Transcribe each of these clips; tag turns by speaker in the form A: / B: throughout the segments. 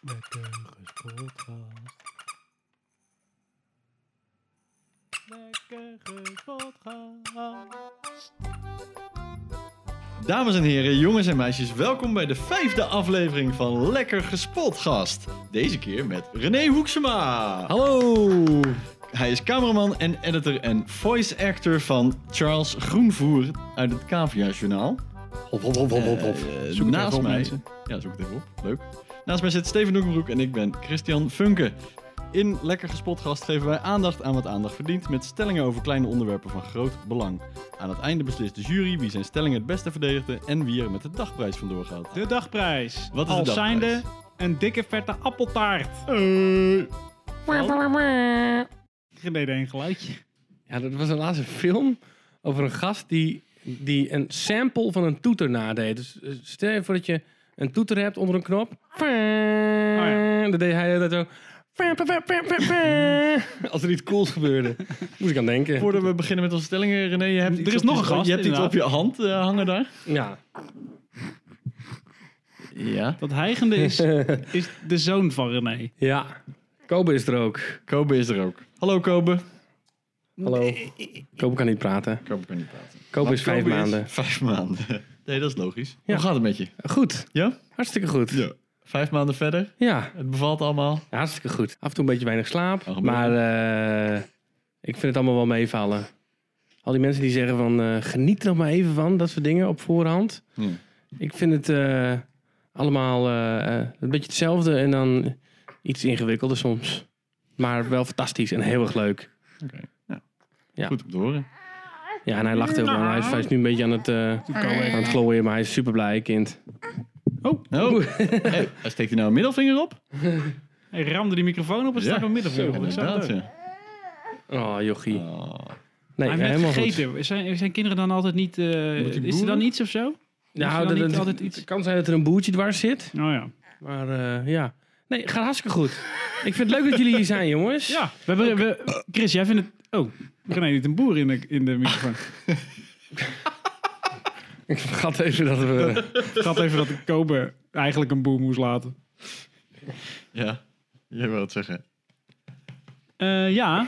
A: De Keukenspodcast. De Keukenspodcast.
B: Dames en heren, jongens en meisjes, welkom bij de vijfde aflevering van Lekker Gespot Gast. Deze keer met René Hoeksema.
A: Hallo!
B: Hij is cameraman en editor en voice actor van Charles Groenvoer uit het Cavia Journaal.
A: Hop, hop, hop, hop, hop. hop.
B: Eh,
A: Zoek het
B: naast
A: even op,
B: mij.
A: mensen.
B: Ja, zoek het even op. Leuk. Naast mij zit Steven Doekenbroek en ik ben Christian Funke. In Lekker Gespot Gast geven wij aandacht aan wat aandacht verdient met stellingen over kleine onderwerpen van groot belang. Aan het einde beslist de jury wie zijn stellingen het beste verdedigde en wie er met de dagprijs vandoor gaat.
C: De dagprijs.
B: Wat is
C: Al
B: de dagprijs?
C: zijnde een dikke vette appeltaart. René deed een geluidje.
D: Ja, dat was een laatste film over een gast die, die een sample van een toeter nadeed. Dus eh, stel je voor dat je een toeter hebt onder een knop.
C: ja.
D: Dan deed hij dat zo. Als er iets cools gebeurde. Moest ik aan denken.
B: Voordat we beginnen met onze stellingen, René, je hebt
C: Er
B: iets
C: is
B: op
C: nog
B: je-
C: een gast,
B: Je hebt iets op je
C: inderdaad.
B: hand eh, hangen daar.
D: Ja.
B: Ja.
C: Dat hijgende is, is de zoon van René.
D: Ja. Kobe is er ook.
B: Kobe is er ook. Hallo Kobe.
D: Hallo. Kobe kan niet praten.
B: Kobe kan niet praten.
D: Kobe is vijf
B: Kobe is
D: maanden.
B: Vijf maanden. Nee, dat is logisch.
D: Ja.
B: Hoe gaat het met je?
D: Goed.
B: Ja?
D: Hartstikke goed.
B: Ja. Vijf maanden verder.
D: Ja.
B: Het bevalt allemaal.
D: Ja, Hartstikke goed. Af en toe een beetje weinig slaap.
B: Kan gebeuren.
D: maar eh, ik vind het allemaal wel meevallen. Al die mensen die zeggen van eh, geniet er nog maar even van, dat soort dingen op voorhand.
B: Ja.
D: Ik vind het eh, allemaal eh, eh, een beetje hetzelfde en dan iets ingewikkelder soms. Maar wel fantastisch en heel erg leuk.
B: Oké. Ja.
D: Ja.
B: Goed om te horen.
D: Ja, en hij lacht heel lang. Hij is, hij is nu een beetje aan het, eh aan het klooien, maar hij is super blij, kind.
C: Oh,
B: Oh, hey, steekt hij nou een middelvinger op?
C: hij ramde die microfoon op en stak
B: Ja.
C: hem midden voor. Ik zag
B: Inderdaad,
C: het ook.
B: ja.
D: Oh, jochie.
B: Oh.
D: Nee,
C: Hij heeft
D: helemaal
C: net
D: goed.
C: gegeten. Zijn, zijn kinderen dan altijd niet... eh, is er
B: boeren?
C: dan iets of zo?
D: Nou,
C: dan
D: dat-
C: niet
D: dat-
C: altijd iets-
D: Het kan zijn dat er een boertje dwars zit.
C: Oh ja.
D: Maar eh, ja. Nee, gaat hartstikke goed. Ik vind het leuk dat jullie hier zijn, jongens.
C: Ja, we hebben, we, Chris, jij vindt het... Oh, René niet een boer in de, in de microfoon.
D: Ik vergat even dat we...
C: Ik had even dat ik Kobe eigenlijk een boer moest laten.
B: Ja, je wil het zeggen.
C: Eh, ja.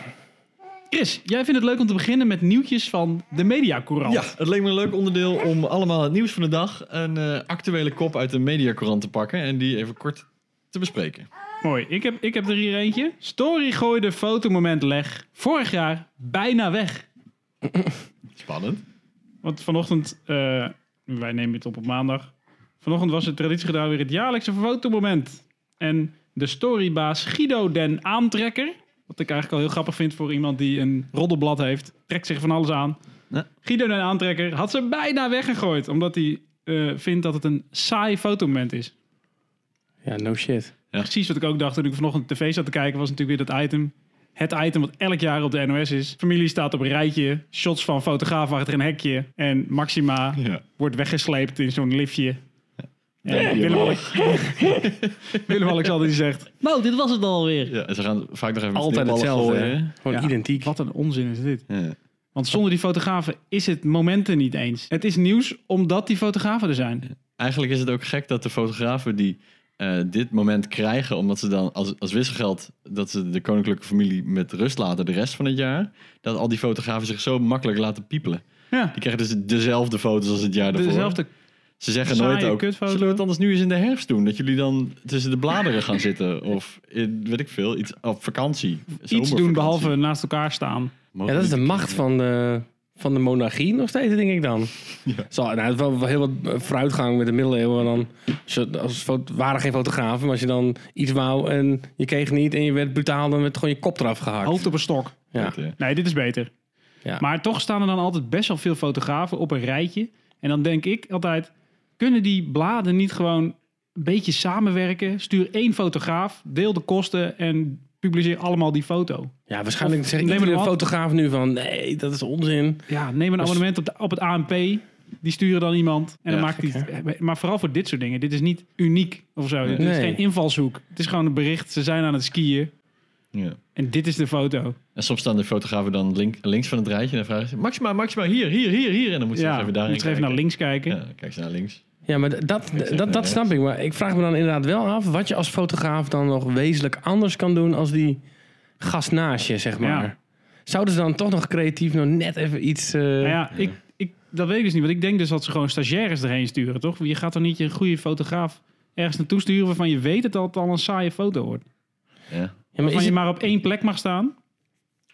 C: Chris, jij vindt het leuk om te beginnen met nieuwtjes van de Mediacourant.
B: Ja, het leek me een leuk onderdeel om allemaal het nieuws van de dag... een eh, actuele kop uit de mediacorant te pakken... en die even kort te bespreken.
C: Mooi. Ik heb, ik heb er hier eentje. Story gooide fotomoment leg. Vorig jaar bijna weg.
B: Spannend.
C: Want vanochtend, eh, wij nemen het op op maandag. Vanochtend was het traditiegetrouw weer het jaarlijkse fotomoment. En de storybaas Guido den Aantrekker. Wat ik eigenlijk al heel grappig vind voor iemand die een roddelblad heeft. Trekt zich van alles aan.
B: Ja.
C: Guido den Aantrekker had ze bijna weggegooid. Omdat hij eh, vindt dat het een saai fotomoment is.
D: Ja, no shit.
C: Precies wat ik ook dacht toen ik vanochtend tv zat te kijken, was natuurlijk weer dat item. Het item wat elk jaar op de NOS is. Familie staat op een rijtje. Shots van fotograaf achter een hekje. En Maxima
B: Ja.
C: wordt weggesleept in zo'n liftje. En
B: Ja, die
C: Willem-Ale- Willem-Alexander die zegt... Nou, dit was het alweer.
B: Ja, en ze gaan vaak nog even met
D: Altijd
B: sneeuwballen
D: hetzelfde.
B: gooien,
D: hè? Gewoon
C: Ja.
D: identiek.
C: Wat een onzin is dit.
B: hè? Ja.
C: Want zonder die fotografen is het momenten niet eens. Het is nieuws omdat die fotografen er zijn.
B: Eigenlijk is het ook gek dat de fotografen die eh, dit moment krijgen, omdat ze dan als, als wisselgeld dat ze de koninklijke familie met rust laten de rest van het jaar, dat al die fotografen zich zo makkelijk laten piepelen.
C: Ja,
B: Die krijgen dus dezelfde foto's als het jaar daarvoor.
C: dezelfde
B: ze zeggen
C: saaie
B: nooit ook.
C: kutfoto.
B: Zullen we het anders nu eens in de herfst doen? Dat jullie dan tussen de bladeren gaan zitten of in, weet ik veel, iets op vakantie.
C: iets doen behalve naast elkaar staan.
D: Ja, dat is de macht van de, van de monarchie nog steeds, denk ik dan.
B: Ja.
D: Zo, nou, het is wel wel heel wat eh, vooruitgang met de middeleeuwen. Dan, als je- als foto, waren geen fotografen, maar als je dan iets wou en je kreeg niet... en je werd brutaal, dan werd gewoon je kop eraf gehakt.
C: Hoofd op een stok.
D: ja.
B: Ja.
C: Nee, dit is beter.
D: Ja.
C: Maar toch staan er dan altijd best wel veel fotografen op een rijtje. En dan denk ik altijd, kunnen die bladen niet gewoon een beetje samenwerken? Stuur één fotograaf, deel de kosten en publiceer allemaal die foto.
D: ja, waarschijnlijk
C: Of
D: zegt
C: neem
D: iedere
C: hem af.
D: fotograaf nu van... nee, dat is onzin.
C: Ja, neem een
D: Als-
C: abonnement op, de- op het ANP. Die sturen dan iemand. En dan
B: Dus- Ja,
C: maakt die, maar vooral voor dit soort dingen. Dit is niet uniek of zo. Dit is
D: Nee.
C: geen invalshoek. Het is gewoon een bericht. Ze zijn aan het skiën.
B: Ja.
C: En dit is de foto.
B: En soms staan de fotografen dan link- links van het rijtje en dan vragen ze: Maxima, Maxima, hier, hier, hier, hier. En dan moeten ze
C: ja,
B: even daarin
C: moet je even naar
B: kijken.
C: links kijken.
B: Ja, kijk ze naar links.
D: Ja, maar d- dat, d- dat, dat snap ik. Maar ik vraag me dan inderdaad wel af wat je als fotograaf dan nog wezenlijk anders kan doen als die gast naast je, zeg maar.
C: Ja.
D: Zouden ze dan toch nog creatief nog net even iets... eh,
C: Nou ja, ik, ik, dat weet ik dus niet. Want ik denk dus dat ze gewoon stagiaires erheen sturen, toch? Je gaat dan niet je goede fotograaf ergens naartoe sturen waarvan je weet dat dat al een saaie foto wordt.
B: Ja.
D: ja, maar
C: Waarvan
D: is,
C: je
D: het,
C: maar op één plek mag staan.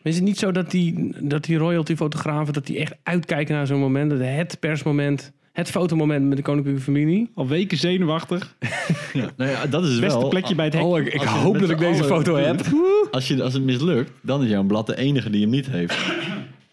D: is het niet zo dat die, dat die royalty-fotografen dat die echt uitkijken naar zo'n moment, dat het persmoment, het fotomoment met de koninklijke familie?
C: Al weken zenuwachtig.
B: Ja, nou ja, dat is het
C: Beste
B: wel.
C: plekje bij het hek.
D: oh, ik,
B: Als je het met z'n allen doet, Als, je, als het mislukt, dan is jouw blad de enige die hem niet heeft.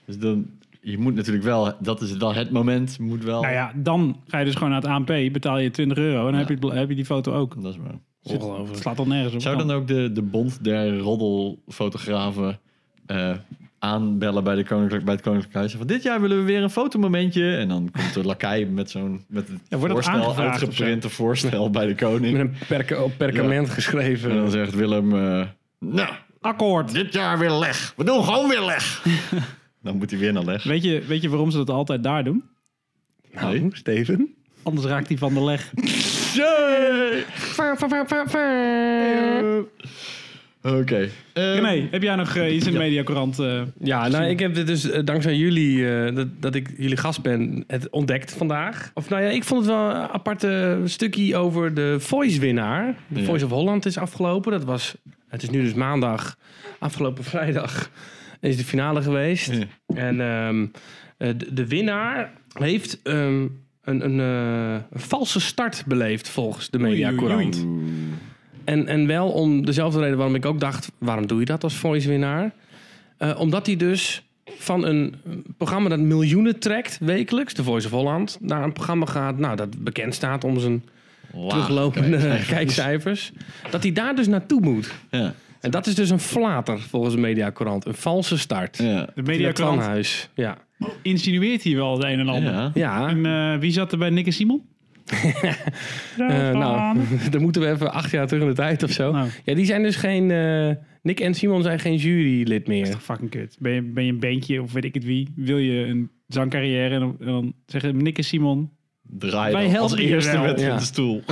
B: Dus dan, je moet natuurlijk wel, dat is wel het moment, je moet wel.
C: Nou ja, dan ga je dus gewoon naar het ANP, betaal je 20 euro en dan
B: Ja.
C: heb, je, het bla- heb je die foto ook. Dus
B: Dat is waar.
C: Het
D: Ongelooflijk.
C: slaat al nergens op.
B: Zou dan ook de, de bond der roddelfotografen eh, aanbellen bij, de koninklijk, bij het Koninklijk Huis? Van dit jaar willen we weer een fotomomentje. En dan komt de lakai met zo'n met het
C: Ja, wordt het
B: voorstel,
C: aangevraagd of zo?
B: uitgeprinte voorstel bij de
D: Met
B: koning.
D: een perke, op perkament geschreven.
B: En dan zegt Willem, eh, nou,
C: Akkoord.
B: dit jaar weer leg. We doen gewoon weer leg. dan moet hij weer naar leg.
C: Weet je, weet je waarom ze dat altijd daar doen?
D: Nou,
B: Nee.
D: Steven.
C: Anders raakt hij van de leg.
B: Eh. Oké. Eh,
C: Nee, heb jij nog eh, iets in de mediacorant? eh?
D: Ja, nou, ik heb dit dus eh, dankzij jullie, eh, dat, dat ik jullie gast ben, het ontdekt vandaag. Of nou ja, ik vond het wel een aparte stukje over de Voice-winnaar. De
B: Ja.
D: Voice of Holland is afgelopen. Dat was, het is nu dus maandag. Afgelopen vrijdag is de finale geweest.
B: Ja.
D: En ehm, eh, de, de winnaar heeft ehm, een, een, eh, een valse start beleefd volgens de Mediacorant. En, en wel om dezelfde reden waarom ik ook dacht: waarom doe je dat als voice-winnaar? Eh, omdat hij dus van een programma dat miljoenen trekt wekelijks, de Voice of Holland, naar een programma gaat nou, dat bekend staat om zijn
B: Laag.
D: teruglopende kijkcijfers. Dat hij daar dus naartoe moet.
B: Ja,
D: En dat is dus een flater volgens de Mediacorant. Een valse start.
B: ja.
C: De
D: Via
C: mediacorant
D: Twanhuis. Ja.
C: insinueert hier wel het een en ander.
B: ja.
D: ja.
C: En eh, wie zat er bij Nick en Simon?
D: Eh, nou, dan moeten we even acht jaar terug in de tijd of zo.
C: Nou.
D: Ja, die zijn dus geen... eh, Nick en Simon zijn geen jurylid
C: is
D: meer.
C: toch fucking kut. Ben je, ben je een bandje of weet ik het wie? Wil je een zangcarrière? En dan, en dan zeggen Nick en Simon.
B: Draai
C: Wij
B: dan als
C: helpen je
B: eerste
C: wel.
B: met
D: Ja.
B: de stoel.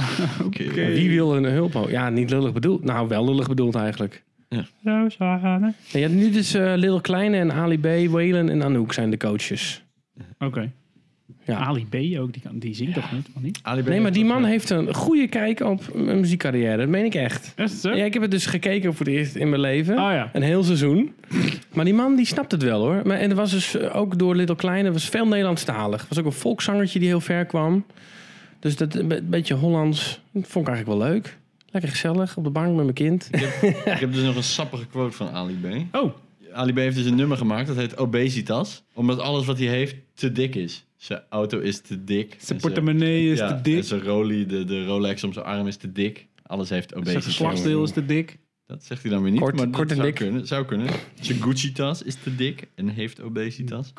B: Oké.
D: Wie wil een hulp? ho- Ja, niet lullig bedoeld. Nou, wel lullig bedoeld eigenlijk.
C: Rosanne.
D: Nee, Je hebt nu dus eh Lil Kleine en Ali B, Waylon en Anouk zijn de coaches.
C: Oké.
D: Ja.
C: Ali B ook, die, kan, die zingt toch niet? Of niet?
B: Ali B
D: Nee, maar die
B: heeft
D: man
B: ook-
D: heeft een goede kijk op een muziekcarrière. Dat meen ik echt.
C: Is het zo?
D: Ja, ik heb het dus gekeken voor het eerst in mijn leven.
C: Oh ja.
D: Een heel seizoen. Maar die man die snapt het wel hoor. Maar, en er was dus eh, ook door Little Kleine was veel Nederlandstalig. Er was ook een volkszangertje die heel ver kwam. Dus dat een be- beetje Hollands. Dat vond ik eigenlijk wel leuk. Lekker gezellig op de bank met mijn kind.
B: Ik heb dus nog een sappige quote van Ali B.
C: Oh,
B: Ali B heeft dus een nummer gemaakt, dat heet Obesitas. Omdat alles wat hij heeft te dik is. Zijn auto is te dik.
C: zijn
B: En
C: portemonnee is
B: ja,
C: te
B: en
C: dik.
B: zijn Rolex, de, de Rolex om zijn arm is te dik. Alles heeft
C: Zijn
B: obesitas.
C: geslachtsdeel is te dik.
B: Dat zegt hij dan weer niet,
D: Kort-
B: maar dat
D: kort en
B: zou,
D: dik.
B: Kunnen, zou kunnen. Zijn Gucci-tas is te dik en heeft obesitas.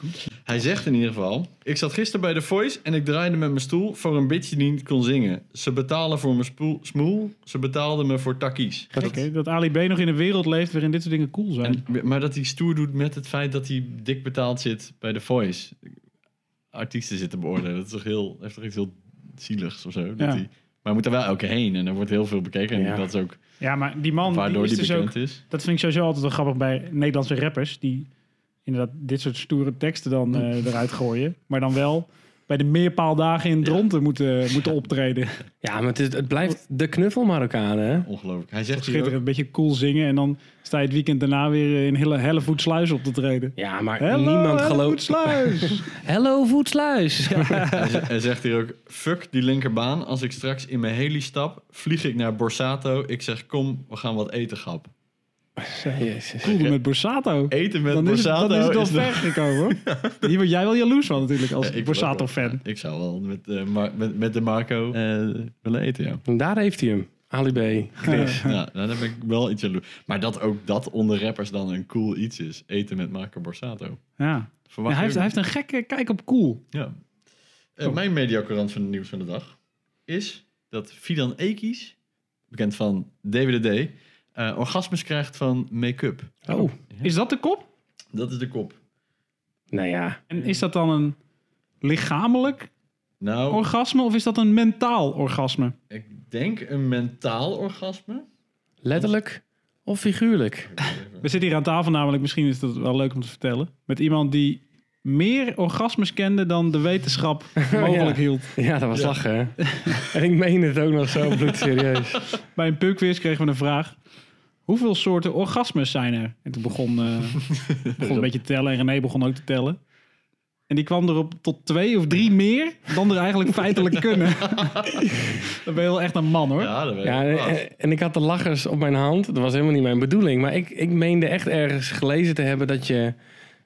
B: Hij zegt in ieder geval... Ik zat gisteren bij The Voice en ik draaide met mijn stoel voor een bitch die niet kon zingen. Ze betalen voor mijn spoel, smoel, ze betaalden me voor takkies.
C: Oké, dat Ali B nog in een wereld leeft waarin dit soort dingen cool zijn.
B: En, maar dat hij stoer doet met het feit dat hij dik betaald zit bij The Voice. Artiesten zitten beoordelen. Dat is toch heel, heeft toch iets heel zieligs of zo. Dat
C: Ja.
B: hij, maar hij moet er wel elke heen en er wordt heel veel bekeken. En
D: Ja.
B: dat is ook
C: ja, maar die man die
B: waardoor
C: is
B: die,
C: dus ook...
B: bekend is.
C: Dat vind ik sowieso altijd wel grappig bij Nederlandse rappers. Die inderdaad dit soort stoere teksten dan eh, eruit gooien. Maar dan wel bij de meerpaaldagen in Dronten moeten, moeten optreden.
D: Ja, maar het, is, het blijft de knuffel Marokkanen. Hè?
B: Ongelooflijk. Hij zegt hier ook-
C: Schitterend, een beetje cool zingen. En dan sta je het weekend daarna weer eh, in hele Hellevoetsluis op te treden.
D: Ja, maar
C: Hello,
D: niemand gelooft.
C: Hellevoetsluis!
D: Hello, voetsluis.
B: Hij z- Hij zegt hier ook, fuck die linkerbaan. Als ik straks in mijn heli stap, vlieg ik naar Borsato. Ik zeg, kom, we gaan wat eten, grap.
D: Jezus.
C: Cool met Borsato.
B: Eten met
C: Dan is, het,
B: Borsato
C: dan is het al
B: de-
C: ver gekomen. hoor. Hier word jij wel jaloers van natuurlijk als
B: Ja, ik
C: Borsato-fan.
B: Ik zou wel met, eh, Mar- met, met de Marco eh, willen eten, ja.
D: En daar heeft hij hem. Ali B. Chris.
B: ja. Dan heb ik wel iets jaloers. Maar dat ook dat onder rappers dan een cool iets is. Eten met Marco Borsato.
C: Ja. Ja,
B: Verwacht
C: hij,
B: je
C: heeft,
B: ook
C: hij heeft een gekke kijk op cool.
B: niet. Ja. Eh, mijn mediacorant van het nieuws van de dag is dat Fidan Ekies, bekend van DWDD, eh, orgasmes krijgt van make-up.
D: Oh,
C: Is dat de kop?
B: Dat is de kop.
D: nou ja.
C: En is dat dan een lichamelijk
D: Oh.
B: Nou,
C: Orgasme of is dat een mentaal orgasme?
B: ik denk een mentaal orgasme.
D: Letterlijk of figuurlijk?
C: We zitten hier aan tafel namelijk, misschien is dat wel leuk om te vertellen. Met iemand die meer orgasmes kende dan de wetenschap mogelijk hield.
D: Ja, dat was lachen, hè? en ik meen het ook nog zo bloedserieus.
C: Bij een pubquiz kregen we een vraag. Hoeveel soorten orgasmes zijn er? En toen begon, eh, begon een beetje te tellen. En René begon ook te tellen. En die kwam erop tot twee of drie meer dan er eigenlijk feitelijk kunnen. Dan ben je wel echt een man hoor.
B: Ja, dat weet
D: Ja, eh-
B: ik. Ah. wel.
D: en, en ik had de lachers op mijn hand. Dat was helemaal niet mijn bedoeling. Maar ik, ik meende echt ergens gelezen te hebben dat je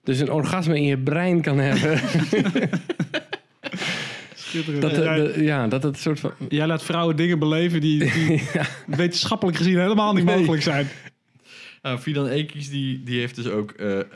D: dus een orgasme in je brein kan hebben. Dat, eh, de-
C: eh, Jij-
D: de- ja, dat het soort van...
C: Jij laat vrouwen dingen beleven die, die wetenschappelijk gezien helemaal niet
D: Nee.
C: mogelijk zijn.
B: Nou, Fidan Ekies die, die heeft dus ook eh, eh,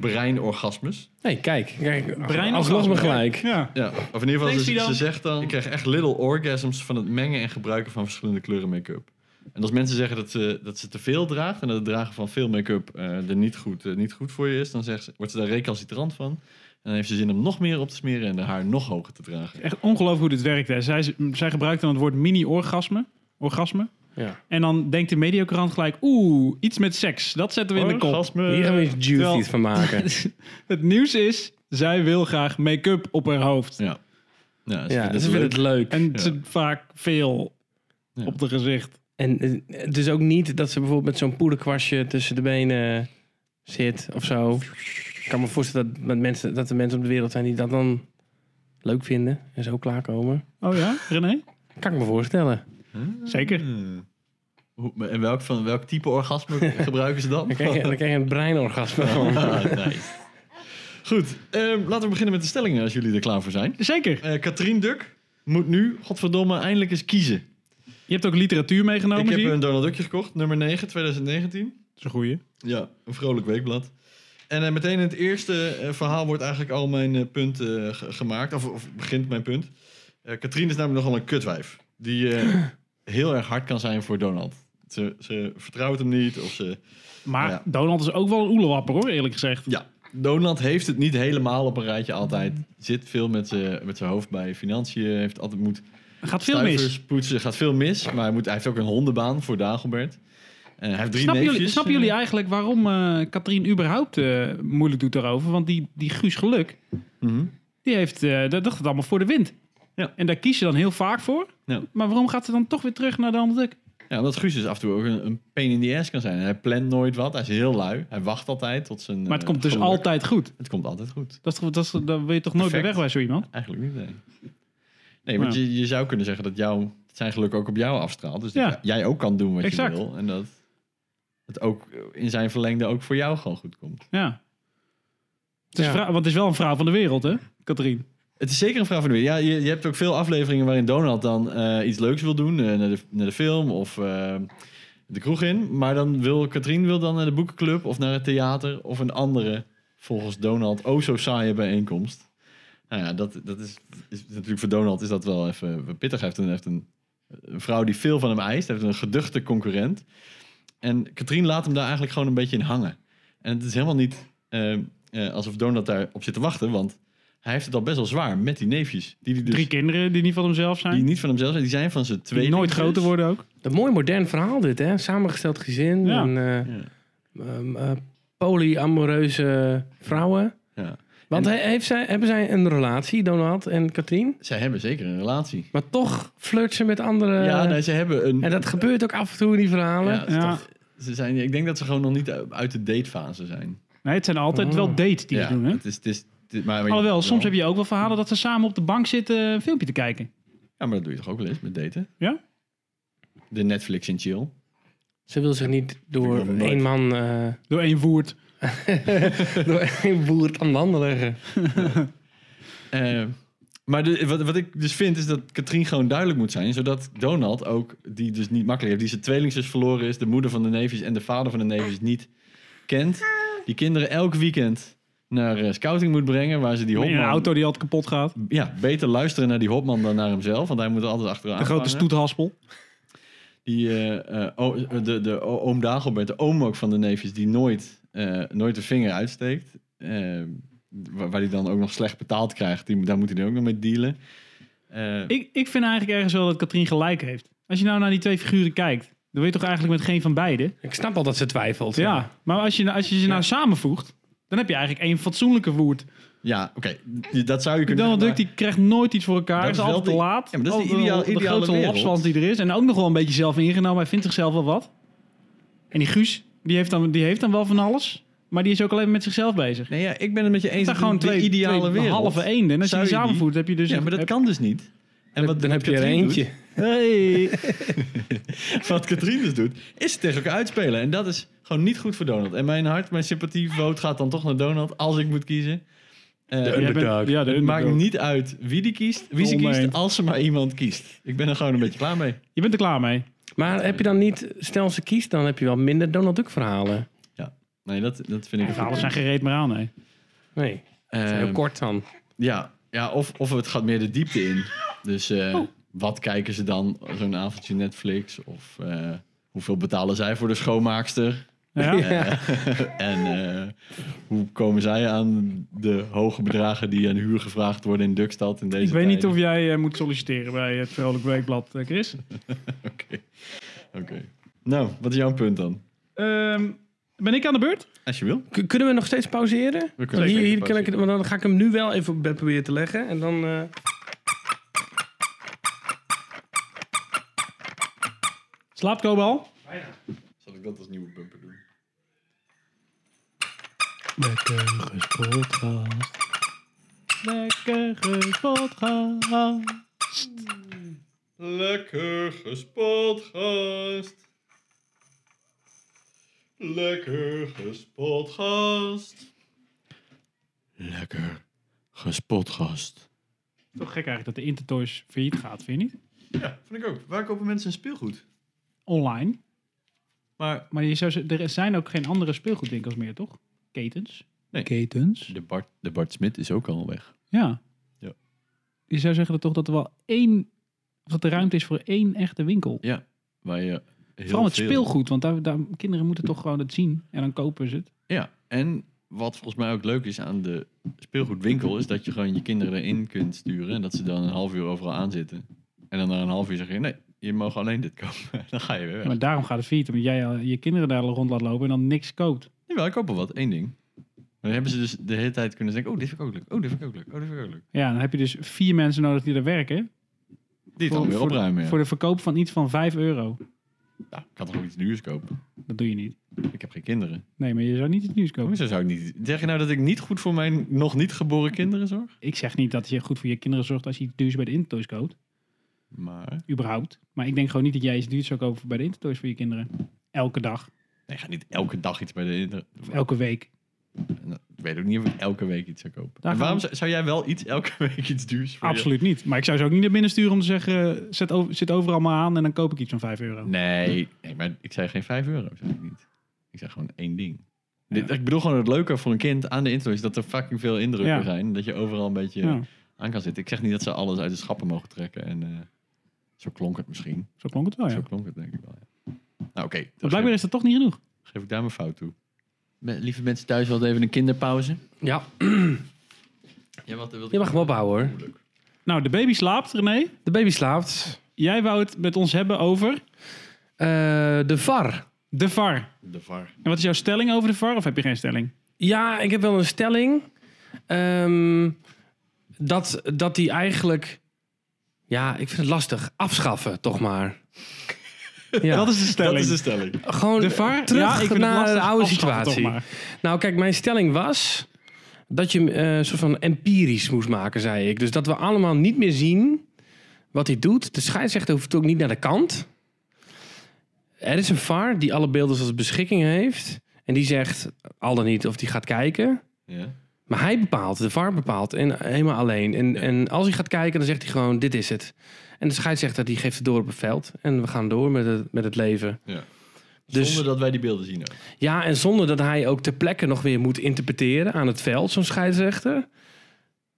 B: breinorgasmes.
D: hey, kijk. kijk
C: Brein
D: alsnog me gelijk.
C: Ja.
B: Ja, of in ieder geval,
C: Thanks,
B: ze,
C: Fidan.
B: ze zegt dan... Ik krijg echt little orgasms van het mengen en gebruiken van verschillende kleuren make-up. En als mensen zeggen dat ze, dat ze te veel draagt... en dat het dragen van veel make-up eh, er niet goed, eh, niet goed voor je is... dan zegt ze, wordt ze daar recalcitrant van. En dan heeft ze zin om nog meer op te smeren en de haar nog hoger te dragen.
C: Echt ongelooflijk hoe dit werkt. Hè. Zij, zij gebruikt dan het woord mini-orgasme. Orgasme.
D: Ja.
C: En dan denkt de mediocrant gelijk, oeh, iets met seks. Dat zetten we in de kop.
B: Orgasme.
D: Hier gaan we iets
C: Terwijl-
D: juicy's van maken.
C: het nieuws is, zij wil graag make-up op haar hoofd.
B: Ja. Ja, ze
D: Ja,
B: vinden
D: ze
B: het
D: vinden
B: leuk.
D: het leuk.
C: En
B: Ja.
C: ze vaak veel
B: Ja.
C: op de gezicht.
D: En eh, het is ook niet dat ze bijvoorbeeld met zo'n poederkwastje tussen de benen zit of zo. Ik kan me voorstellen dat, met mensen, dat er mensen op de wereld zijn die dat dan leuk vinden en zo klaarkomen.
C: Oh ja, René?
D: Kan ik me voorstellen.
C: Zeker.
B: Hmm. Hoe- En welk, van, welk type orgasme gebruiken ze dan?
D: Dan krijg je, dan krijg je een breinorgasme. van.
B: Ah, nice. Goed, ehm, laten we beginnen met de stellingen als jullie er klaar voor zijn.
C: Zeker.
B: Eh Katrien Duk moet nu, godverdomme, eindelijk eens kiezen.
C: Je hebt ook literatuur meegenomen,
B: ik heb
C: zie je?
B: een Donald Duckje gekocht, nummer 9, 2019.
C: Dat is een goeie.
B: Ja, een vrolijk weekblad. En eh, meteen in het eerste eh, verhaal wordt eigenlijk al mijn eh, punt eh, ge- gemaakt, of, of begint mijn punt. Eh Katrien is namelijk nogal een kutwijf, die eh, heel erg hard kan zijn voor Donald. Ze, ze vertrouwt hem niet, of ze...
C: Maar
B: Ja.
C: Donald is ook wel een oelewapper, hoor, eerlijk gezegd.
B: Ja, Donald heeft het niet helemaal op een rijtje altijd. Zit veel met zijn met zijn hoofd bij financiën. Heeft altijd moet
C: Gaat veel mis.
B: stuivers poetsen. Gaat veel mis. Maar hij, moet, hij heeft ook een hondenbaan voor Dagobert. En hij heeft drie
C: Snappen
B: neefjes.
C: jullie, snappen jullie eigenlijk waarom eh Katrien überhaupt eh, moeilijk doet daarover? Want die, die Guus Geluk,
B: Mhm.
C: die heeft, eh dat dacht het allemaal voor de wind.
B: Ja.
C: En daar kies je dan heel vaak voor.
B: Ja.
C: Maar waarom gaat ze dan toch weer terug naar Donald Duck?
B: Ja, omdat Guus dus af en toe ook een, een pain in the ass kan zijn. En hij plant nooit wat. Hij is heel lui. Hij wacht altijd tot zijn...
C: Maar het
B: eh,
C: komt dus
B: geluk.
C: altijd goed.
B: Het komt altijd goed.
C: Dat, is toch- dat, is- daar wil je toch nooit bij
B: Perfect.
C: weg bij zo iemand?
B: Eigenlijk niet, nee. Nee, want
C: Ja.
B: je, je zou kunnen zeggen dat jouw, zijn geluk ook op jou afstraalt. Dus dat
C: Ja.
B: jij ook kan doen wat
C: Exact.
B: je wil. En dat het ook in zijn verlengde ook voor jou gewoon goed komt.
C: Ja. Het is
D: Ja.
C: vrou- want het is wel een vrouw van de wereld, hè, Katrien?
B: Het is zeker een vraag van de weer. Ja, je, je hebt ook veel afleveringen waarin Donald dan eh, iets leuks wil doen. eh, naar, de, naar de film of eh, de kroeg in. Maar dan wil Katrien wil dan naar de boekenclub of naar het theater. Of een andere, volgens Donald, oh zo saaie bijeenkomst. Nou ja, dat, dat is, is natuurlijk voor Donald is dat wel even pittig. Hij heeft, een, heeft een, een vrouw die veel van hem eist. Hij heeft een geduchte concurrent. En Katrien laat hem daar eigenlijk gewoon een beetje in hangen. En het is helemaal niet eh, eh, alsof Donald daar op zit te wachten. Want hij heeft het al best wel zwaar met die neefjes. Die, die, dus,
C: Drie kinderen die niet van hemzelf zijn.
B: die
C: Die,
B: niet van hemzelf zijn. Die zijn van z'n twee.
C: nooit groter worden ook.
D: Een mooi modern verhaal dit, hè? Samengesteld gezin
C: Ja.
D: en eh,
B: Ja.
D: ehm, eh, polyamoreuze vrouwen.
B: Ja.
D: Want he- heeft zij, hebben zij een relatie, Donald en Katrien?
B: Zij hebben zeker een relatie.
D: Maar toch flirt ze met andere...
C: Eh,
B: ja, nee, ze hebben een...
D: En dat gebeurt ook af en toe in die verhalen.
B: ja, het is
C: Ja.
B: toch- ze zijn, ik denk dat ze gewoon nog niet uit de datefase zijn.
C: Nee, het zijn altijd
D: Oh.
C: wel dates die
B: ja,
C: ze doen, hè?
B: Het is, het is, het is- maar,
C: Alhoewel, soms heb je ook wel verhalen dat ze samen op de bank zitten een filmpje te kijken.
B: Ja, maar dat doe je toch ook wel eens met daten?
C: Ja?
B: De Netflix en chill.
D: Ze wil zich niet door
B: Ik wil nooit.
D: één man, eh,
C: Door één voert.
D: door één boer aan de handen leggen.
B: Eh, maar de- wat, wat ik dus vind is dat Katrien gewoon duidelijk moet zijn. Zodat Donald ook, die dus niet makkelijk heeft, die zijn tweelingzus verloren is, de moeder van de neefjes en de vader van de neefjes niet kent. Die kinderen elk weekend naar eh, scouting moet brengen, waar ze die
C: In
B: hopman...
C: een auto die altijd kapot gaat.
B: Ja, beter luisteren naar die hopman dan naar hemzelf, want hij moet er altijd achteraan
C: De grote
B: hangen.
C: stoethaspel.
B: Die, eh, eh, o- de, de o- oom Dagobert, de oom ook van de neefjes, die nooit, eh, nooit de vinger uitsteekt. Eh, waar waar hij dan ook nog slecht betaald krijgt. Die, daar moet hij dan ook nog mee dealen. Eh,
C: Ik, ik vind eigenlijk ergens wel dat Katrien gelijk heeft. Als je nou naar die twee figuren kijkt, dan weet je toch eigenlijk met geen van beiden.
D: Ik snap al dat ze twijfelt.
C: Ja, maar als je, als je ze nou samenvoegt, dan heb je eigenlijk één fatsoenlijke woord.
B: ja, oké. die- Dat zou je kunnen
C: Donald Duck
B: maar-
C: die krijgt nooit iets voor elkaar.
B: Dat
C: is
B: is wel
C: altijd te
B: die-
C: laat.
B: Ja, maar dat is de
C: Altijd wel
B: ideaal-
C: de
B: ideale
C: grootste
B: wereld.
C: lapswand die er is. En ook nog wel een beetje zelf ingenomen. Hij vindt zichzelf wel wat. En die Guus, die heeft dan, die heeft dan wel van alles. Maar die is ook alleen maar met zichzelf bezig.
B: Nee, ja, ik ben het met je eens. dat
C: Het zijn gewoon
B: de
C: twee,
B: ideale
C: twee
B: wereld.
C: halve eenden. En als je
B: Zou
C: die
B: je die-
C: samenvoert, heb je dus...
B: Ja, maar dat
C: heb-
B: kan dus niet. En wat,
D: dan heb je er
B: Katrien
D: eentje.
C: Hey.
B: Doet, wat Katrien dus doet, is het tegen elkaar uitspelen. En dat is gewoon niet goed voor Donald. En mijn hart, mijn sympathievoot gaat dan toch naar Donald als ik moet kiezen. Eh,
C: Jij bent-
D: underdog.
C: ja, de
B: het maakt
C: underdog.
B: niet uit wie die kiest, wie ze
C: Oneens.
B: kiest, als ze maar iemand kiest. Ik ben er gewoon een beetje klaar mee.
C: Je bent er klaar mee.
D: Maar heb je dan niet, stel ze kiest, dan heb je wel minder Donald Duck verhalen.
B: Nee, dat, dat vind ik...
C: Die verhalen Nou, zijn gereed maar aan, hè.
D: Nee,
B: Eh,
D: dat is heel kort dan.
B: Ja, ja of, of het gaat meer de diepte in. Dus eh,
D: Oh.
B: wat kijken ze dan? Zo'n avondje Netflix? Of eh, hoeveel betalen zij voor de schoonmaakster?
C: Ja?
B: Eh, en eh, hoe komen zij aan de hoge bedragen die aan huur gevraagd worden in Dukstad in deze
C: Ik weet niet
B: tijden?
C: of jij eh, moet solliciteren bij het Vrolijk Weekblad, eh, Chris.
B: Oké. Oké. Nou, wat is jouw punt dan?
C: Ehm, ben ik aan de beurt?
B: Als je wil.
D: K- kunnen we nog steeds pauzeren?
B: We
D: Hier,
B: kunnen
D: hier
B: zeker
D: kan ik,
B: pauzeren.
D: het- want dan ga ik hem nu wel even op bed proberen te leggen. En dan... eh,
C: Slaapt Kobe al?
B: Zal ik dat als nieuwe bumper doen?
A: Lekker gespotgast.
C: Lekker gespotgast.
B: Lekker gespot, gast. Lekker gespot, gast. Lekker gespot, gast.
C: Toch gek eigenlijk dat de Intertoys failliet gaat, vind je niet?
B: Ja, vind ik ook. Waar kopen mensen hun speelgoed?
C: Online.
B: Maar
C: Maar je zou, ze- er zijn ook geen andere speelgoedwinkels meer, toch? Ketens.
B: Nee.
C: Ketens?
B: de Bart, de Bart Smit is ook al weg.
C: Ja.
B: Ja.
C: Je zou zeggen dat toch dat er wel één... Of dat er ruimte is voor één echte winkel.
B: Ja, waar je heel
C: Vooral het
B: veel-
C: speelgoed, want daar, daar, kinderen moeten toch gewoon het zien. En dan kopen ze het.
B: Ja, en wat volgens mij ook leuk is aan de speelgoedwinkel... is dat je gewoon je kinderen erin kunt sturen... en dat ze dan een half uur overal aan zitten. En dan na een half uur zeg je... nee, je mag alleen dit kopen. Dan ga je weer weg.
C: Maar daarom gaat het failliet, omdat jij eh, je kinderen daar rond laat lopen en dan niks koopt.
B: Jawel, ik koop wel wat. één ding. Maar dan hebben ze dus de hele tijd kunnen denken... Oh, dit vind ik ook leuk. Oh, dit vind ik ook leuk. Oh, dit vind ik ook leuk.
C: Ja, dan heb je dus vier mensen nodig die er werken.
B: Die het dan weer
C: voor,
B: opruimen, ja.
C: voor de verkoop van iets van 5 euro.
B: Nou, ik kan toch ook iets duurs kopen?
C: Dat doe je niet.
B: Ik heb geen kinderen.
C: Nee, maar je zou niet het nieuws kopen.
B: Hoezo zou ik niet... Zeg je nou dat ik niet goed voor mijn nog niet geboren kinderen zorg?
C: Ik zeg niet dat je goed voor je kinderen zorgt als je iets duurs bij de Intertoys koopt.
B: Maar...
C: Überhaupt. Maar ik denk gewoon niet dat jij iets duurs zou kopen bij de Intertoys voor je kinderen. Elke dag.
B: Nee, ik ga niet elke dag iets bij de... inter-
C: Of elke week.
B: Nou, Ik weet ook niet of ik elke week iets zou kopen.
C: Daar
B: En
C: gaan
B: waarom
C: we-
B: zou, zou jij wel iets elke week iets duurs voor je-
C: Absoluut niet. Maar ik zou ze ook niet naar binnen sturen om te zeggen, eh, zet over, zit overal maar aan en dan koop ik iets van 5 euro.
B: Nee, nee, maar ik zei geen 5 euro, zeg ik niet. Ik zei gewoon één ding. Dit, ik bedoel gewoon het leuke voor een kind aan de intro is dat er fucking veel indrukken
C: Ja.
B: zijn. Dat je overal een beetje
C: Ja,
B: aan kan zitten. Ik zeg niet dat ze alles uit de schappen mogen trekken. En eh, zo klonk het misschien.
C: zo klonk het wel, ja.
B: Zo klonk het denk ik wel. ja. Nou oké,
C: Maar
B: dan
C: blijkbaar
B: geef,
C: is dat toch niet genoeg.
B: geef ik daar mijn fout toe. Me- Lieve mensen thuis, wel even een kinderpauze.
D: ja,
B: Ja, wat eh, wilde
D: je mag hem opbouwen hoor.
C: Nou, de baby slaapt, René.
D: De baby slaapt.
C: Jij wou het met ons hebben over
D: Eh, de VAR.
C: de VAR.
B: De VAR.
C: En wat is jouw stelling over de VAR? Of heb je geen stelling?
D: Ja, ik heb wel een stelling. Ehm, dat, dat die eigenlijk... Ja, ik vind het lastig. Afschaffen, toch maar. Ja.
C: Dat is de stelling.
B: Dat is de stelling.
D: Gewoon
C: de VAR?
D: Eh, terug
C: ja, ik vind het
D: naar
C: lastig.
D: de oude
C: Afschaffen toch
D: situatie.
C: maar.
D: Nou, kijk, mijn stelling was dat je hem, eh, een soort van empirisch moest maken, zei ik. Dus dat we allemaal niet meer zien wat hij doet. De scheidsrechter hoeft ook niet naar de kant. Er is een VAR die alle beelden als beschikking heeft. En die zegt al dan niet of die gaat kijken.
B: Ja.
D: Maar hij bepaalt, de VAR bepaalt. En helemaal alleen. En, en als hij gaat kijken, dan zegt hij gewoon, dit is het. En de scheidsrechter die geeft het door op het veld. En we gaan door met het, met het leven.
B: Ja.
D: Dus-
B: Zonder dat wij die beelden zien. ook.
D: Ja, en zonder dat hij ook ter plekke nog weer moet interpreteren aan het veld, zo'n scheidsrechter.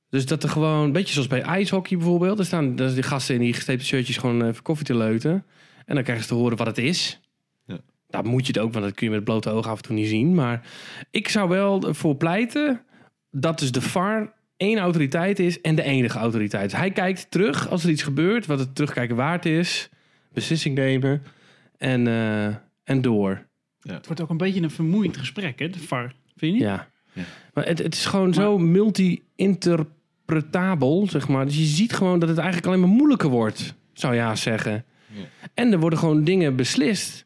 D: Dus dat er gewoon, een beetje zoals bij ijshockey bijvoorbeeld, er staan daar zijn die gasten in die gestreepte shirtjes gewoon even koffie te leuten. En dan krijgen ze te horen wat het is.
B: Ja.
D: Daar moet je het ook, want dat kun je met blote ogen af en toe niet zien. Maar ik zou wel ervoor pleiten dat dus de VAR één autoriteit is en de enige autoriteit. Dus hij kijkt terug als er iets gebeurt, wat het terugkijken waard is, beslissing nemen en, eh, en door.
C: Het wordt ook een beetje een vermoeiend gesprek, hè, de VAR. Vind je niet?
D: Ja.
B: Ja.
D: Maar het, het is gewoon zo multi-interpretabel, zeg maar. Dus je ziet gewoon dat het eigenlijk alleen maar moeilijker wordt, zou je haast zeggen.
B: Ja.
D: En er worden gewoon dingen beslist.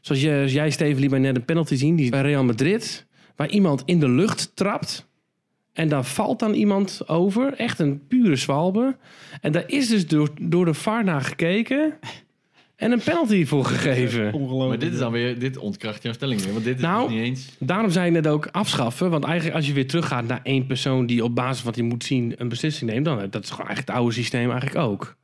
D: Zoals je- jij, Steven, liet mij net een penalty zien die is bij Real Madrid. Waar iemand in de lucht trapt. En daar valt dan iemand over. Echt een pure zwalbe. En daar is dus door, door de VAR naar gekeken. En een penalty voor gegeven.
C: Ongelooflijk.
B: Maar dit is dan weer, dit ontkracht jouw stelling weer, want dit is
D: Nou,
B: dus niet eens.
D: Daarom zei ik net ook afschaffen. Want eigenlijk als je weer teruggaat naar één persoon die op basis van wat hij moet zien een beslissing neemt. Dan, eh, dat is gewoon eigenlijk het oude systeem eigenlijk ook.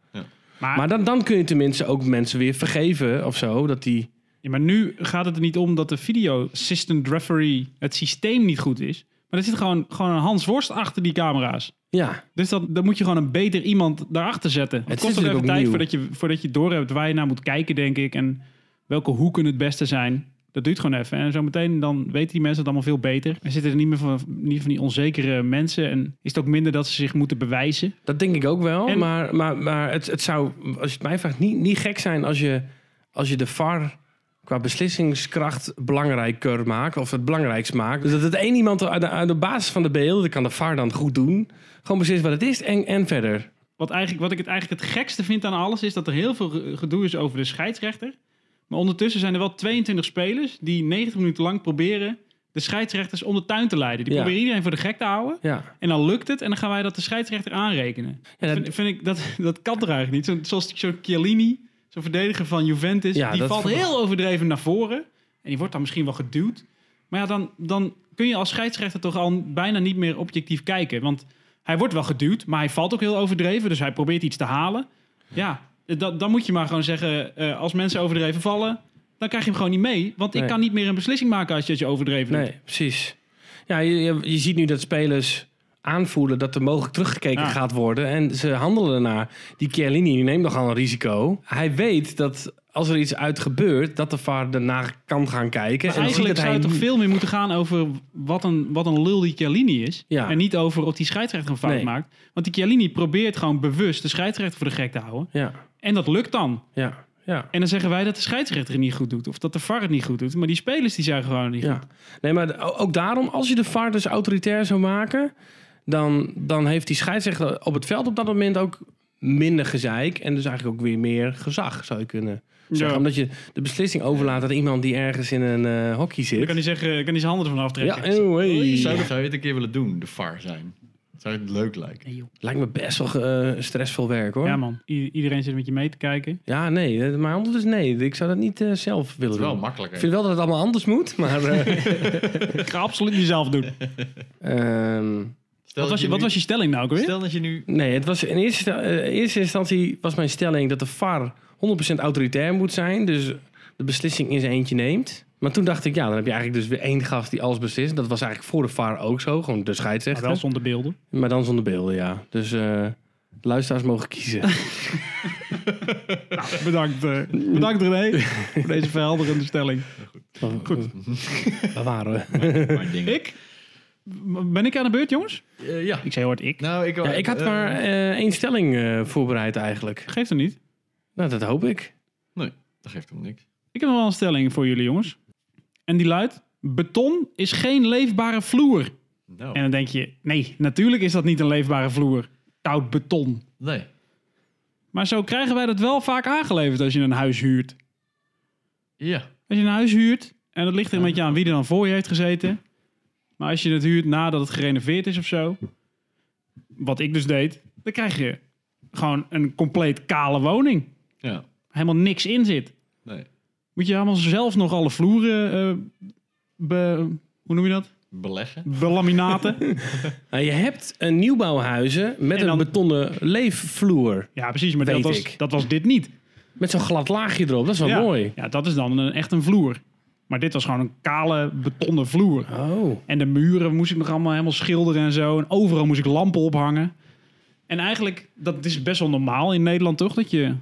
C: Maar,
D: Maar dan, dan kun je tenminste ook mensen weer vergeven of zo. Dat die...
C: ja, maar nu gaat het er niet om dat de video assistant referee het systeem niet goed is. Maar er zit gewoon, gewoon een Hans Worst achter die camera's.
D: Ja,
C: Dus dan, dan moet je gewoon een beter iemand daarachter zetten. Het,
D: is
C: kost ook
D: natuurlijk
C: even
D: ook
C: tijd
D: nieuw.
C: voordat je, voordat je doorhebt waar je naar moet kijken, denk ik. En welke hoeken het beste zijn. Dat duurt gewoon even. En zometeen dan weten die mensen het allemaal veel beter. En zitten er niet meer van, niet van die onzekere mensen. En is het ook minder dat ze zich moeten bewijzen.
D: Dat denk ik ook wel.
C: En-
D: Maar, maar, maar het, het zou, als je het mij vraagt, niet, niet gek zijn als je, als je de VAR qua beslissingskracht belangrijker maakt. Of het belangrijkst maakt. Dus dat het één iemand uit de, uit de basis van de beelden, dat kan de VAR dan goed doen. Gewoon precies wat het is en, en verder.
C: Wat, eigenlijk, wat ik het eigenlijk het gekste vind aan alles is dat er heel veel ge- gedoe is over de scheidsrechter. Maar ondertussen zijn er wel 22 spelers die 90 minuten lang proberen de scheidsrechters om de tuin te leiden. Die
D: Ja.
C: proberen iedereen voor de gek te houden.
D: Ja.
C: En dan lukt het en dan gaan wij dat de scheidsrechter aanrekenen.
D: Ja, dat-
C: vind, vind ik, dat, dat kan er eigenlijk niet. Zo, zoals zo'n Chiellini, zo'n verdediger van Juventus,
D: Ja,
C: die
D: dat
C: valt
D: vond ik-
C: heel overdreven naar voren. En die wordt dan misschien wel geduwd. Maar ja, dan, dan kun je als scheidsrechter toch al bijna niet meer objectief kijken. Want hij wordt wel geduwd, maar hij valt ook heel overdreven. Dus hij probeert iets te halen. Ja, dat, dan moet je maar gewoon zeggen, eh, als mensen overdreven vallen... dan krijg je hem gewoon niet mee. Want ik
D: Nee.
C: kan niet meer een beslissing maken als je het je overdreven doet.
D: Nee, precies. Ja, je, je, je ziet nu dat spelers aanvoelen dat er mogelijk teruggekeken
C: Ja.
D: gaat worden. En ze handelen ernaar. Die Chiellini die neemt nogal een risico. Hij weet dat als er iets uit gebeurt, dat de VAR daarna kan gaan kijken.
C: Maar
D: en dan ziet
C: eigenlijk
D: dat
C: zou het
D: hij
C: toch veel meer moeten gaan over wat een, wat een lul die Chiellini is.
D: Ja.
C: En niet over of die scheidsrechter een fout
D: Nee.
C: maakt. Want die Chiellini probeert gewoon bewust de scheidsrechter voor de gek te houden.
D: Ja,
C: En dat lukt dan.
D: ja, ja.
C: En dan zeggen wij dat de scheidsrechter het niet goed doet. Of dat de VAR het niet goed doet. Maar die spelers die zijn gewoon niet
D: ja.
C: goed.
D: Nee, maar o- ook daarom, als je de VAR dus autoritair zou maken... Dan, dan heeft die scheidsrechter op het veld op dat moment ook minder gezeik... en dus eigenlijk ook weer meer gezag, zou je kunnen zeggen. Omdat je de beslissing overlaat aan iemand die ergens in een eh hockey
C: Dan
D: zit.
C: kan hij zeggen, kan hij zijn handen ervan
D: Ja,
C: aftrekken.
D: oh, hey.
B: Zou, zou je het een keer willen doen, de VAR zijn? Zou je het leuk lijken?
C: Nee, joh.
D: Lijkt me best wel eh, stressvol werk, hoor.
C: ja
D: Ja,
C: man, I- iedereen zit met je mee te kijken.
D: nee, eh, mijn antwoord is nee. Ik zou dat niet eh, zelf
B: Het
D: willen
B: is wel
D: doen. Ik
B: makkelijker.
D: vind wel dat het allemaal anders moet, maar... eh,
C: Ik ga absoluut niet zelf doen.
D: ehm,
B: Stel dat
C: Wat was, je, wat
B: nu-
C: was je stelling nou ook weer?
B: Stel dat je nu...
D: Nee, het was in eerste, eh, eerste instantie was mijn stelling dat de VAR 100% autoritair moet zijn. Dus de beslissing in zijn eentje neemt. Maar toen dacht ik, ja, dan heb je eigenlijk dus weer één gast die alles beslist. Dat was eigenlijk voor de VAR ook zo. Gewoon de
C: Maar
D: scheidsrechter.
C: wel zonder beelden.
D: Maar dan zonder beelden, ja. Dus eh, luisteraars mogen kiezen.
C: Bedankt, eh, bedankt René voor deze verhelderende stelling.
D: Goed. eh, Waar waren we?
B: Oh, Mijn ding.
C: Ik? M- Ben ik aan de beurt, jongens?
B: Eh, ja.
C: Ik zei hoort ik.
B: Nou, ik,
D: Ja, ik had
B: eh,
D: maar eh, één stelling eh, voorbereid eigenlijk.
C: Geeft hem niet.
D: Nou, dat hoop ik.
B: Dat geeft hem niks.
C: Ik heb nog wel een stelling voor jullie, jongens. En die luidt: beton is geen leefbare vloer.
B: Nou,
C: En dan denk je: nee, natuurlijk is dat niet een leefbare vloer. Koud beton.
B: nee.
C: Maar zo krijgen wij dat wel vaak aangeleverd als je een huis huurt.
B: Ja.
C: Als je een huis huurt, en dat ligt er een beetje aan wie er dan voor je heeft gezeten. Maar als je het huurt nadat het gerenoveerd is of zo. Wat ik dus deed, dan krijg je gewoon een compleet kale woning.
B: Ja.
C: Helemaal niks in zit.
B: Nee.
C: Moet je allemaal zelf nog alle vloeren. eh, be, hoe noem je dat?
B: Beleggen.
C: Belaminaten.
D: Nou, je hebt een nieuwbouwhuizen met
C: En dan-
D: een betonnen leefvloer.
C: ja, precies. Maar
D: Weet
C: dat was,
D: ik.
C: dat was dit niet.
D: Met zo'n glad laagje erop. Dat is wel
C: ja.
D: mooi.
C: Ja, dat is dan een, echt een vloer. Maar dit was gewoon een kale betonnen vloer.
D: Oh.
C: En de muren moest ik nog allemaal helemaal schilderen en zo. En overal moest ik lampen ophangen. En eigenlijk, dat is best wel normaal in Nederland toch? Dat je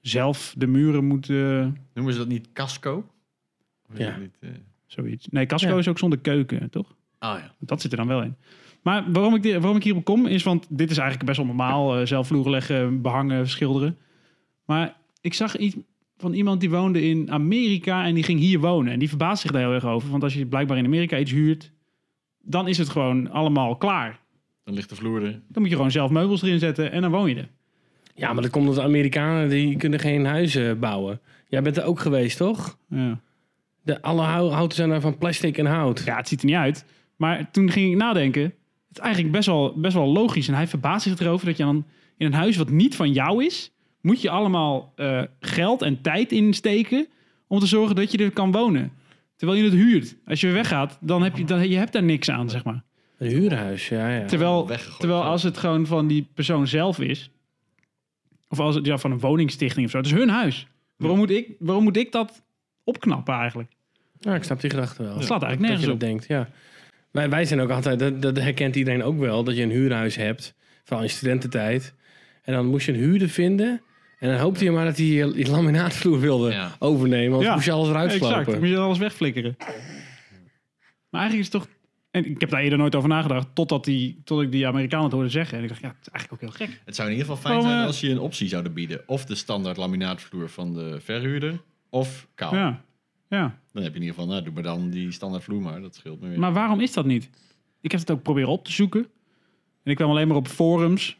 C: zelf de muren moet... eh,
B: Noemen ze dat niet casco? Of is
D: Ja.
B: dat Niet, eh,
C: zoiets. Nee, Casco
D: Ja.
C: is ook zonder keuken, toch?
B: Ah ja.
C: Dat zit er dan wel in. Maar waarom ik, di- waarom ik hierop kom is, want dit is eigenlijk best wel normaal. eh, zelf vloeren leggen, behangen, schilderen. Maar ik zag iets van iemand die woonde in Amerika en die ging hier wonen. En die verbaast zich daar heel erg over. Want als je blijkbaar in Amerika iets huurt, dan is het gewoon allemaal klaar.
B: Dan ligt de vloer er.
C: Dan moet je gewoon zelf meubels erin zetten en dan woon je er.
D: Ja, maar dat komt omdat de Amerikanen die kunnen geen huizen bouwen. Jij bent er ook geweest, toch?
C: Ja.
D: De, alle hou- houten zijn daar van plastic en hout.
C: ja, het ziet er niet uit. Maar toen ging ik nadenken. Het is eigenlijk best wel, best wel logisch. En hij verbaast zich erover dat je dan in een huis wat niet van jou is... moet je allemaal eh, geld en tijd insteken om te zorgen dat je er kan wonen. Terwijl je het huurt. Als je weggaat, dan heb je, dan, je hebt daar niks aan, zeg maar.
D: Een huurhuis, ja, ja.
C: Terwijl,
B: weggegooid,
C: terwijl
B: ja.
C: als het gewoon van die persoon zelf is... of als het ja, van een woningstichting of zo, het is hun huis. Waarom moet ik, waarom moet ik dat opknappen eigenlijk?
D: Ja, Nou, ik snap die gedachte wel.
C: Het slaat eigenlijk
D: dat je
C: nergens op.
D: dat denkt, ja. Wij, wij zijn ook altijd, dat, dat herkent iedereen ook wel, dat je een huurhuis hebt, vooral in studententijd. En dan moest je een huurder vinden. En dan hoopte je maar dat hij je, je laminaatvloer wilde
B: Ja.
D: overnemen, want
C: Ja,
D: moest je alles eruit
C: Exact, dan
D: slopen.
C: moet je alles wegflikkeren. Maar eigenlijk is het toch... En ik heb daar eerder nooit over nagedacht, totdat, die, tot ik die Amerikanen het hoorde zeggen. En ik dacht, ja, het is eigenlijk ook heel gek.
B: Het zou in ieder geval fijn
C: Gewoon,
B: zijn
C: eh,
B: als je een optie zouden bieden. Of de standaard laminaatvloer van de verhuurder. Of kaal.
C: Ja. ja.
B: Dan heb je in ieder geval, nou doe maar dan die standaard vloer maar. Dat scheelt me weer.
C: Maar waarom is dat niet? Ik heb het ook proberen op te zoeken. En ik kwam alleen maar op forums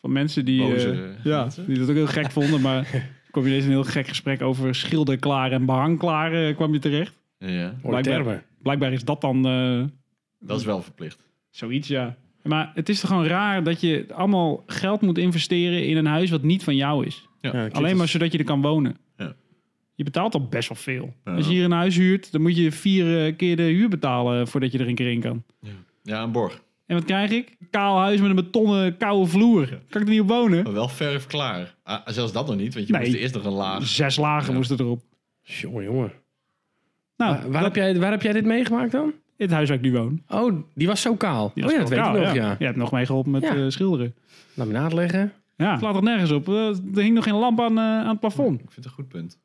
C: van mensen die,
B: Boze
C: eh, ja,
B: mensen.
C: die dat ook heel gek vonden. Maar kwam je ineens een heel gek gesprek over schilderklaar en behangklaar eh, kwam je terecht.
B: Ja,
D: Mooi
C: Blijkbaar-
D: termen.
C: Blijkbaar is dat dan eh,
B: dat is wel verplicht.
C: Zoiets, ja. Maar het is toch gewoon raar dat je allemaal geld moet investeren in een huis wat niet van jou is.
B: Ja.
D: Ja, klinkt
C: Alleen maar
D: als-
C: zodat je er kan wonen.
B: Ja.
C: Je betaalt al best wel veel.
B: Ja.
C: Als je hier een huis huurt, dan moet je vier eh, keer de huur betalen eh, voordat je er een keer in kan.
B: Ja, een borg.
C: En wat krijg ik? Kaal huis met een betonnen koude vloer. Kan ik er niet op wonen?
B: Maar wel verf klaar. Ah, zelfs dat nog niet, want je
C: Nee.
B: moest eerst nog een laag.
C: Zes lagen
B: Ja.
C: moest het erop.
D: Jongen, jongen.
C: Nou,
D: Waar- waar, heb jij, waar heb jij dit meegemaakt dan?
C: het huis waar ik nu woon.
D: Oh, die was zo kaal.
C: die
D: oh
C: was
D: ja, dat weet
C: gewoon
D: ik
C: kaal,
D: nog, ja.
C: Je hebt nog mee geholpen met
D: Ja.
C: eh, schilderen.
D: Laminaat leggen.
C: Ja, het slaat er nergens op. Eh, er hing nog geen lamp aan, eh, aan het plafond.
B: Ik vind het een goed punt.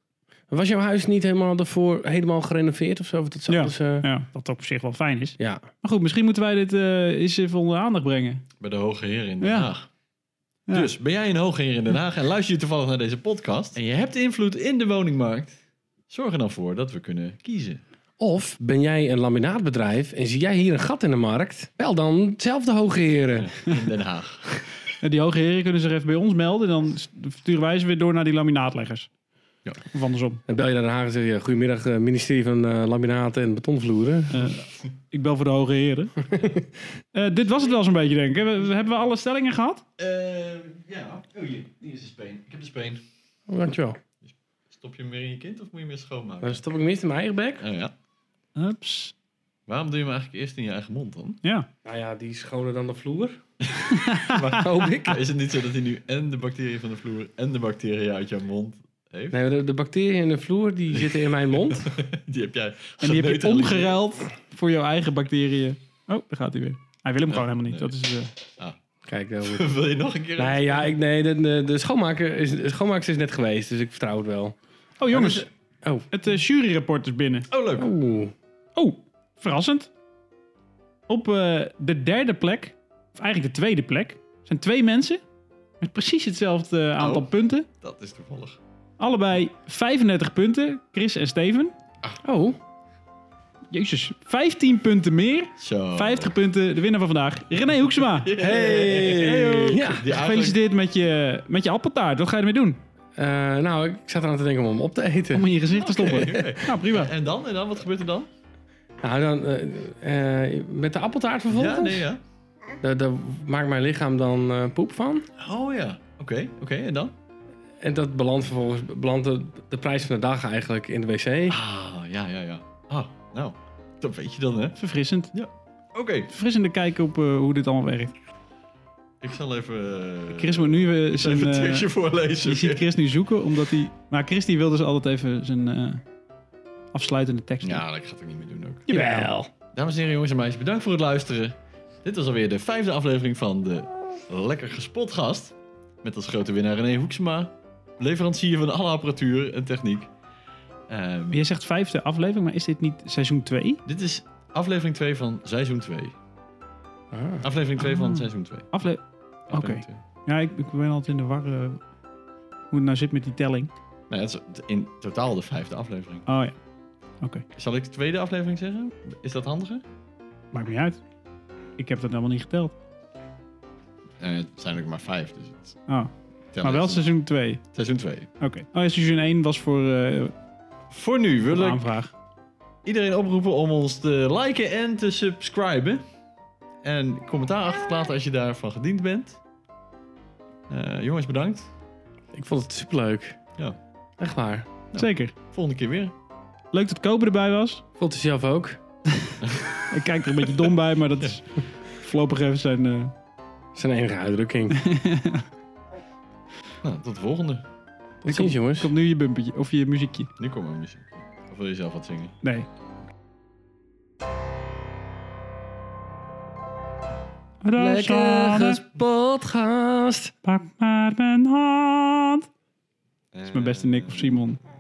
D: Was jouw huis niet helemaal daarvoor helemaal gerenoveerd of zo? Want dat zou
C: Ja.
D: alles, eh,
C: Ja, wat op zich wel fijn is.
D: ja.
C: Maar goed, misschien moeten wij dit eh, eens even onder de aandacht brengen.
B: Bij de Hoge Heer in Den
C: Ja.
B: Haag.
C: Ja.
B: Dus ben jij een Hoge Heer in Den Haag en luister je toevallig naar deze podcast en je hebt invloed in de woningmarkt, zorg er dan voor dat we kunnen kiezen.
D: Of ben jij een laminaatbedrijf en zie jij hier een gat in de markt? Wel dan zelf de hoge heren.
B: In Den Haag.
C: En Eh, die hoge heren kunnen zich even bij ons melden. Dan s- sturen wij ze weer door naar die laminaatleggers.
B: Ja.
C: Of andersom.
D: Dan bel je naar Den Haag en zeg je... Goedemiddag, eh, ministerie van eh Laminaten en Betonvloeren.
C: Eh, ik bel voor de hoge heren. Eh, dit was het wel zo'n beetje, denk ik. Hebben we- hebben we alle stellingen gehad?
B: ja, oh hier, hier is de speen. Ik heb de speen.
D: Oh, dankjewel.
B: Stop je hem weer in je kind of moet je hem eerst schoonmaken?
D: Dan stop ik hem eerst in mijn eigen bek.
B: Oh ja.
C: Ups.
B: Waarom doe je hem eigenlijk eerst in je eigen mond dan?
C: Ja.
D: Nou ja, die is schoner dan de vloer. maar hoop ik.
C: Ah.
B: Is het niet zo dat hij nu en de bacteriën van de vloer en de bacteriën uit jouw mond heeft?
D: Nee, de, de bacteriën in de vloer die zitten in mijn mond.
B: Die heb jij
C: En die heb je
B: geneutraliseerd.
C: omgeruild voor jouw eigen bacteriën. Oh, daar gaat hij weer. Hij wil hem gewoon helemaal niet.
B: nee.
C: Dat is, eh,
D: Kijk, daar moet-
B: Wil je nog een keer?
D: Nee, ja, ik, nee de, de, de schoonmaker is, de schoonmaakster is net geweest, dus ik vertrouw het wel.
C: Oh, jongens.
D: Oh.
C: Het eh, juryrapport is binnen.
B: Oh leuk.
D: Oeh.
C: Oh, verrassend. Op eh, de derde plek, of eigenlijk de tweede plek, zijn twee mensen met precies hetzelfde eh, aantal
B: Oh.
C: punten.
B: Dat is toevallig.
C: Allebei 35 punten, Chris en Steven.
D: Oh,
C: Jezus, 15 punten
B: Oh.
C: meer.
B: Zo.
C: 50 punten, de winnaar van vandaag, René Hoeksema.
D: hey. Ja.
B: Die eigenlijk-
C: Gefeliciteerd met je, met je appeltaart. Wat ga je ermee doen?
D: Eh, nou, ik zat eraan te denken om hem op te eten.
C: Om in je gezicht te stoppen. Nou, prima.
B: En dan? En dan? Wat gebeurt er dan?
D: Nou, dan eh, eh, met de appeltaart vervolgens.
B: Ja, nee, ja.
D: daar, daar maakt mijn lichaam dan eh, poep van.
B: Oh ja. Oké, oké. En dan?
D: En dat belandt vervolgens belandt de, de prijs van de dag eigenlijk in de wc.
B: Ah, ja, ja, ja. Ah, nou. Dat weet je dan, hè?
C: Verfrissend.
B: Oké.
C: Verfrissende kijk op eh, hoe dit allemaal werkt.
B: Ik zal even... eh,
C: Chris moet nu eh, zijn...
B: even een
C: eh,
B: tekstje voorlezen.
C: Je ziet Chris nu zoeken, omdat hij... Maar Chris die wil dus altijd even zijn eh, afsluitende tekst doen.
B: Ja, dat gaat ik niet meer doen ook.
D: Jawel.
B: Dames en heren, jongens en meisjes, bedankt voor het luisteren. Dit was alweer de vijfde aflevering van de Lekker Gespot Gast. Met als grote winnaar René Hoeksema, leverancier van alle apparatuur en techniek. Ehm,
C: Jij zegt vijfde aflevering, maar is dit niet seizoen 2?
B: Dit is aflevering 2 van seizoen 2.
D: Ah.
B: Aflevering 2 van
C: Ah.
B: seizoen 2.
C: Afle Oké. Ja, ik, ik ben altijd in de war eh, hoe het nou zit met die telling.
B: Nou, dat is in totaal de vijfde aflevering.
C: Oh ja,
B: Zal ik de tweede aflevering zeggen? Is dat handiger?
C: maakt niet uit. Ik heb dat helemaal niet geteld.
B: Eh, het zijn er maar vijf, dus het
C: Oh,
B: telt
C: maar wel
B: niet.
C: seizoen 2.
B: seizoen 2.
C: Oké. Oh ja, seizoen 1 was voor eh,
B: Voor nu
C: voor de
B: wil ik
C: aanvraag.
B: iedereen oproepen om ons te liken en te subscriben. En commentaar achter te laten als je daarvan gediend bent. Eh, jongens, bedankt.
D: Ik vond het superleuk.
B: Ja.
D: Echt waar.
C: Zeker.
B: Volgende keer weer.
C: Leuk dat Koper erbij was.
D: Vond u zelf ook?
C: Ik kijk er een beetje dom bij, maar dat is voorlopig even zijn... eh,
D: Zijn enige uitdrukking.
B: Nou, tot de volgende.
D: Tot ziens jongens.
C: komt nu je bumpertje, of je muziekje.
B: Nu komt mijn muziek. Of wil je zelf wat zingen?
C: Nee. Rosanne,
D: podcast.
C: pak maar mijn hand.
B: Dat
C: is mijn beste Nick of Simon.